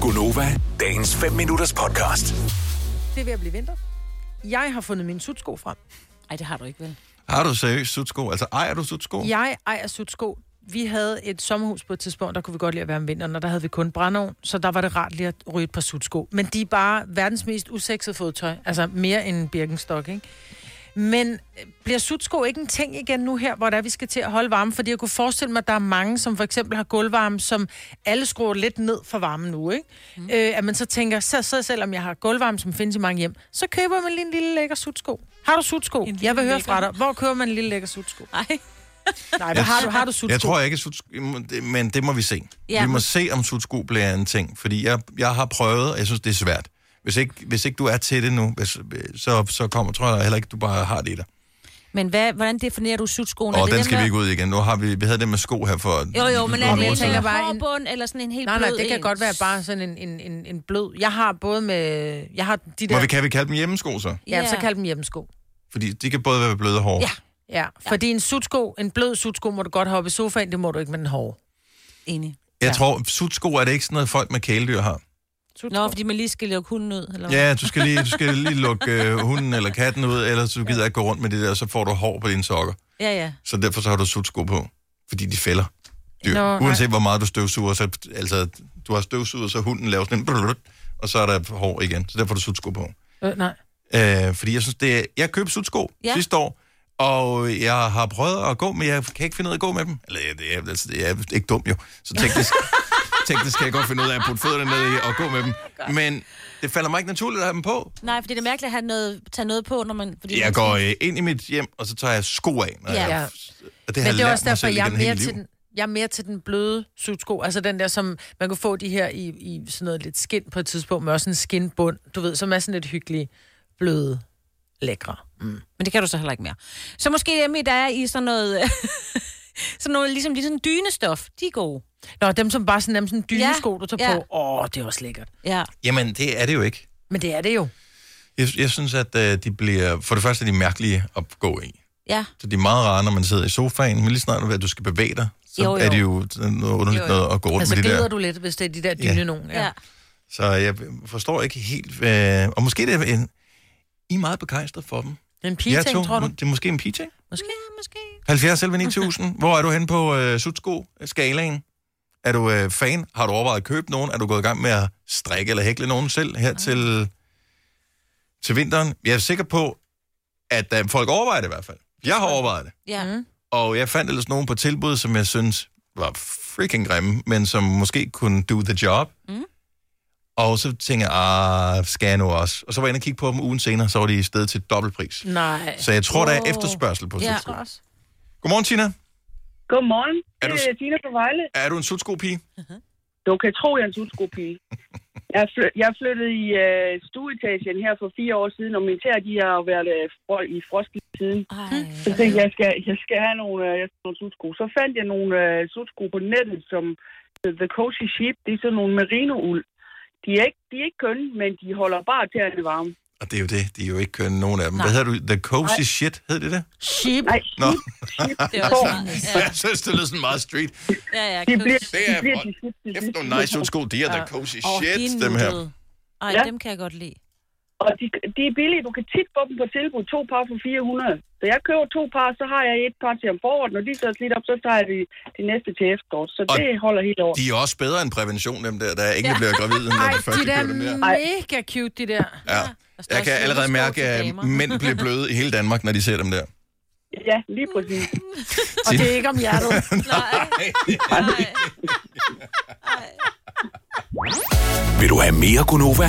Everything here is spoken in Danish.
Gunova, dagens 5 minutters podcast. Det er ved at blive vinter. Jeg har fundet mine sutsko frem. Nej, det har du ikke, vel? Har du seriøst sutsko? Altså ejer du sutsko? Jeg ejer sutsko. Vi havde et sommerhus på et tidspunkt, der kunne vi godt lide at være om vinteren, og der havde vi kun brændeovn, så der var det rart lige at ryge et par sutsko. Men de er bare verdens mest usekset fodtøj, altså mere end en birkenstok, ikke? Men øh, bliver sutsko ikke en ting igen nu her, hvor der vi skal til at holde varme? Fordi jeg kunne forestille mig, at der er mange, som for eksempel har gulvvarme, som alle skruer lidt ned for varmen nu, ikke? Mm. Øh, at man så tænker, så, så selvom jeg har gulvvarme, som findes i mange hjem, så køber man lige en lille lækker sutsko. Har du sutsko? En lille Jeg vil høre fra lækker. dig. Hvor køber man en lille lækker sutsko? Nej. Nej, men har du, har du sutsko? Jeg tror ikke, at sutsko, men det må vi se. Ja. Ja. Vi må se, om sutsko bliver en ting, fordi jeg, jeg har prøvet, og jeg synes, det er svært. Hvis ikke, hvis ikke du er til det nu, hvis, så, så kommer, tror jeg heller ikke, du bare har det i dig. Men hvad, hvordan definerer du sutskoen? Er Og det den dem skal der- vi ikke ud i igen. Nu har vi, vi havde det med sko her for... Jo, jo, men er for Nå, det nogle jeg en år siden. tænker bare en- hårbund, eller sådan en helt Nej, blød nej, det kan en? godt være bare sådan en, en, en, en blød. Jeg har både med... Jeg har de der... Må vi, kan vi kalde dem hjemmesko så? Ja, så kald dem hjemmesko. Fordi de kan både være bløde og hårde. Ja. Ja, fordi en sutsko, en blød sutsko, må du godt hoppe i sofaen, det må du ikke med den hårde. Enig. Jeg Ja. tror, sutsko er det ikke sådan noget, folk med kæledyr har. Sutsko. Nå, fordi man lige skal lukke hunden ud, eller hvad? Ja, du skal lige, du skal lige lukke øh, hunden eller katten ud, ellers du gider ikke gå rundt med det der, så får du hår på dine sokker. Ja, ja. Så derfor så har du sutsko på, fordi de fælder dyr. Nå, Nå, nej. Uanset hvor meget du støvsuger, så, altså, du har støvsuger, så hunden laver sådan en brrrr, og så er der hår igen. Så derfor har du sutsko på. Øh, nej. Øh, fordi jeg synes, det er, jeg købte sutsko Ja. ja. sidste år, og jeg har prøvet at gå, men jeg kan ikke finde ud af at gå med dem. Eller ja, det er, altså, det er ikke dum jo, så teknisk, teknisk kan jeg godt finde ud af at putte fødderne ned i og gå med dem. Men det falder mig ikke naturligt at have dem på. Nej, fordi det er mærkeligt at have noget, tage noget på, når man... Fordi Jeg går øh, ind i mit hjem, og så tager jeg sko af. Når Ja. jeg, og det har Men jeg det er lært også mig derfor, selv jeg er, igennem hele mere livet. til den, jeg er mere til den bløde sutsko. Altså den der, som man kunne få de her i, i sådan noget lidt skin på et tidspunkt, men også en skinbund, du ved, som er sådan lidt hyggelige, bløde, lækre. Men det kan du så heller ikke mere. Så måske Emmy, der er i sådan noget... sådan noget, ligesom, ligesom dynestof. De er gode. Nå, dem som bare sådan, dem sådan dyne Ja, sko, du tager ja. på. Åh, det er også lækkert. Ja. Jamen, det er det jo ikke. Men det er det jo. Jeg, jeg synes, at øh, de bliver... For det første er de mærkelige at gå i. Ja. Så de er meget rare, når man sidder i sofaen, men lige snart, at du skal bevæge dig, så jo, Jo, jo. jo. er det jo sådan noget underligt Jo, jo, jo. jo. noget at gå rundt Altså med det glider der. du lidt, hvis det er de der Ja. dyne nogen. ja. Så jeg forstår ikke helt... Øh, og måske det er en... I er meget begejstret for dem. En Jer pigeting, to, tror du? må- Det er måske en pigeting. Måske. Ja, måske. 70 selv 9000. Hvor er du hen på øh, sutsko-skalaen? Er du øh, fan? Har du overvejet at købe nogen? Er du gået i gang med at strikke eller hækle nogen selv Ah. her til, til vinteren? Jeg er sikker på, at øh, folk overvejer det i hvert fald. Jeg har overvejet det. Ja. Mm. Og jeg fandt ellers nogen på tilbud, som jeg synes var freaking grimme, men som måske kunne do the job. Mm. Og så tænkte jeg, ah, skal jeg nu også? Og så var jeg inde og kigge på dem ugen senere, så var de i stedet til dobbeltpris. Nej. Så jeg tror, der er Mm. Wow. efterspørgsel på Ja. ja. sutsko. Godmorgen, Tina. Godmorgen. Er du- Det er Tina fra Vejle. Er du en sutsko-pige? Du kan tro, jeg er en sutskopige. Jeg, fly- jeg flyttede i øh, stueetagen her for fire år siden, og min tæer, de har jo været øh, fro- i frost lige siden. Ej, Så tænkte jeg, jeg skal, jeg skal have nogle, øh, jeg skal have nogle sutsko. Så fandt jeg nogle øh, sutsko på nettet, som hedder The Cozy Sheep. Det er sådan nogle merino-uld. De er ikke, de er ikke kønne, men de holder bare tæerne varme. Og det er jo det. De er jo ikke kønne nogen af dem. Nej. Hvad hedder du? The Cozy Shit, hed det det? Sheep. Nej, Nå. sheep, sheep, det er også får. meget. Ja. Jeg synes, det lyder sådan meget street. Ja, ja. De bliver, Det de er bliver for- til sidst, til Kæft, sidst. nogle nice sutsko. De er The Cozy Åh, de er Shit, dem her. nuttede. Ej, Ja. dem kan jeg godt lide. Og de, de er billige. Du kan tit få dem på tilbud. To par for 400. Så jeg køber to par, så har jeg et par til om foråret. Når de så er slidt op, så tager jeg de, de næste til efteråret. Så Og det holder helt over. De er også bedre end prævention, dem der, der ikke bliver gravide, når Ej, de først de der kører dem der. mega cute, de der. Ja. Og så er Jeg kan der allerede sutsko mærke, til at damer. mænd bliver bløde i hele Danmark, når de ser dem der. Ja, lige præcis. Og det er ikke om hjertet. Nej. Nej. Vil du have mere Gunova?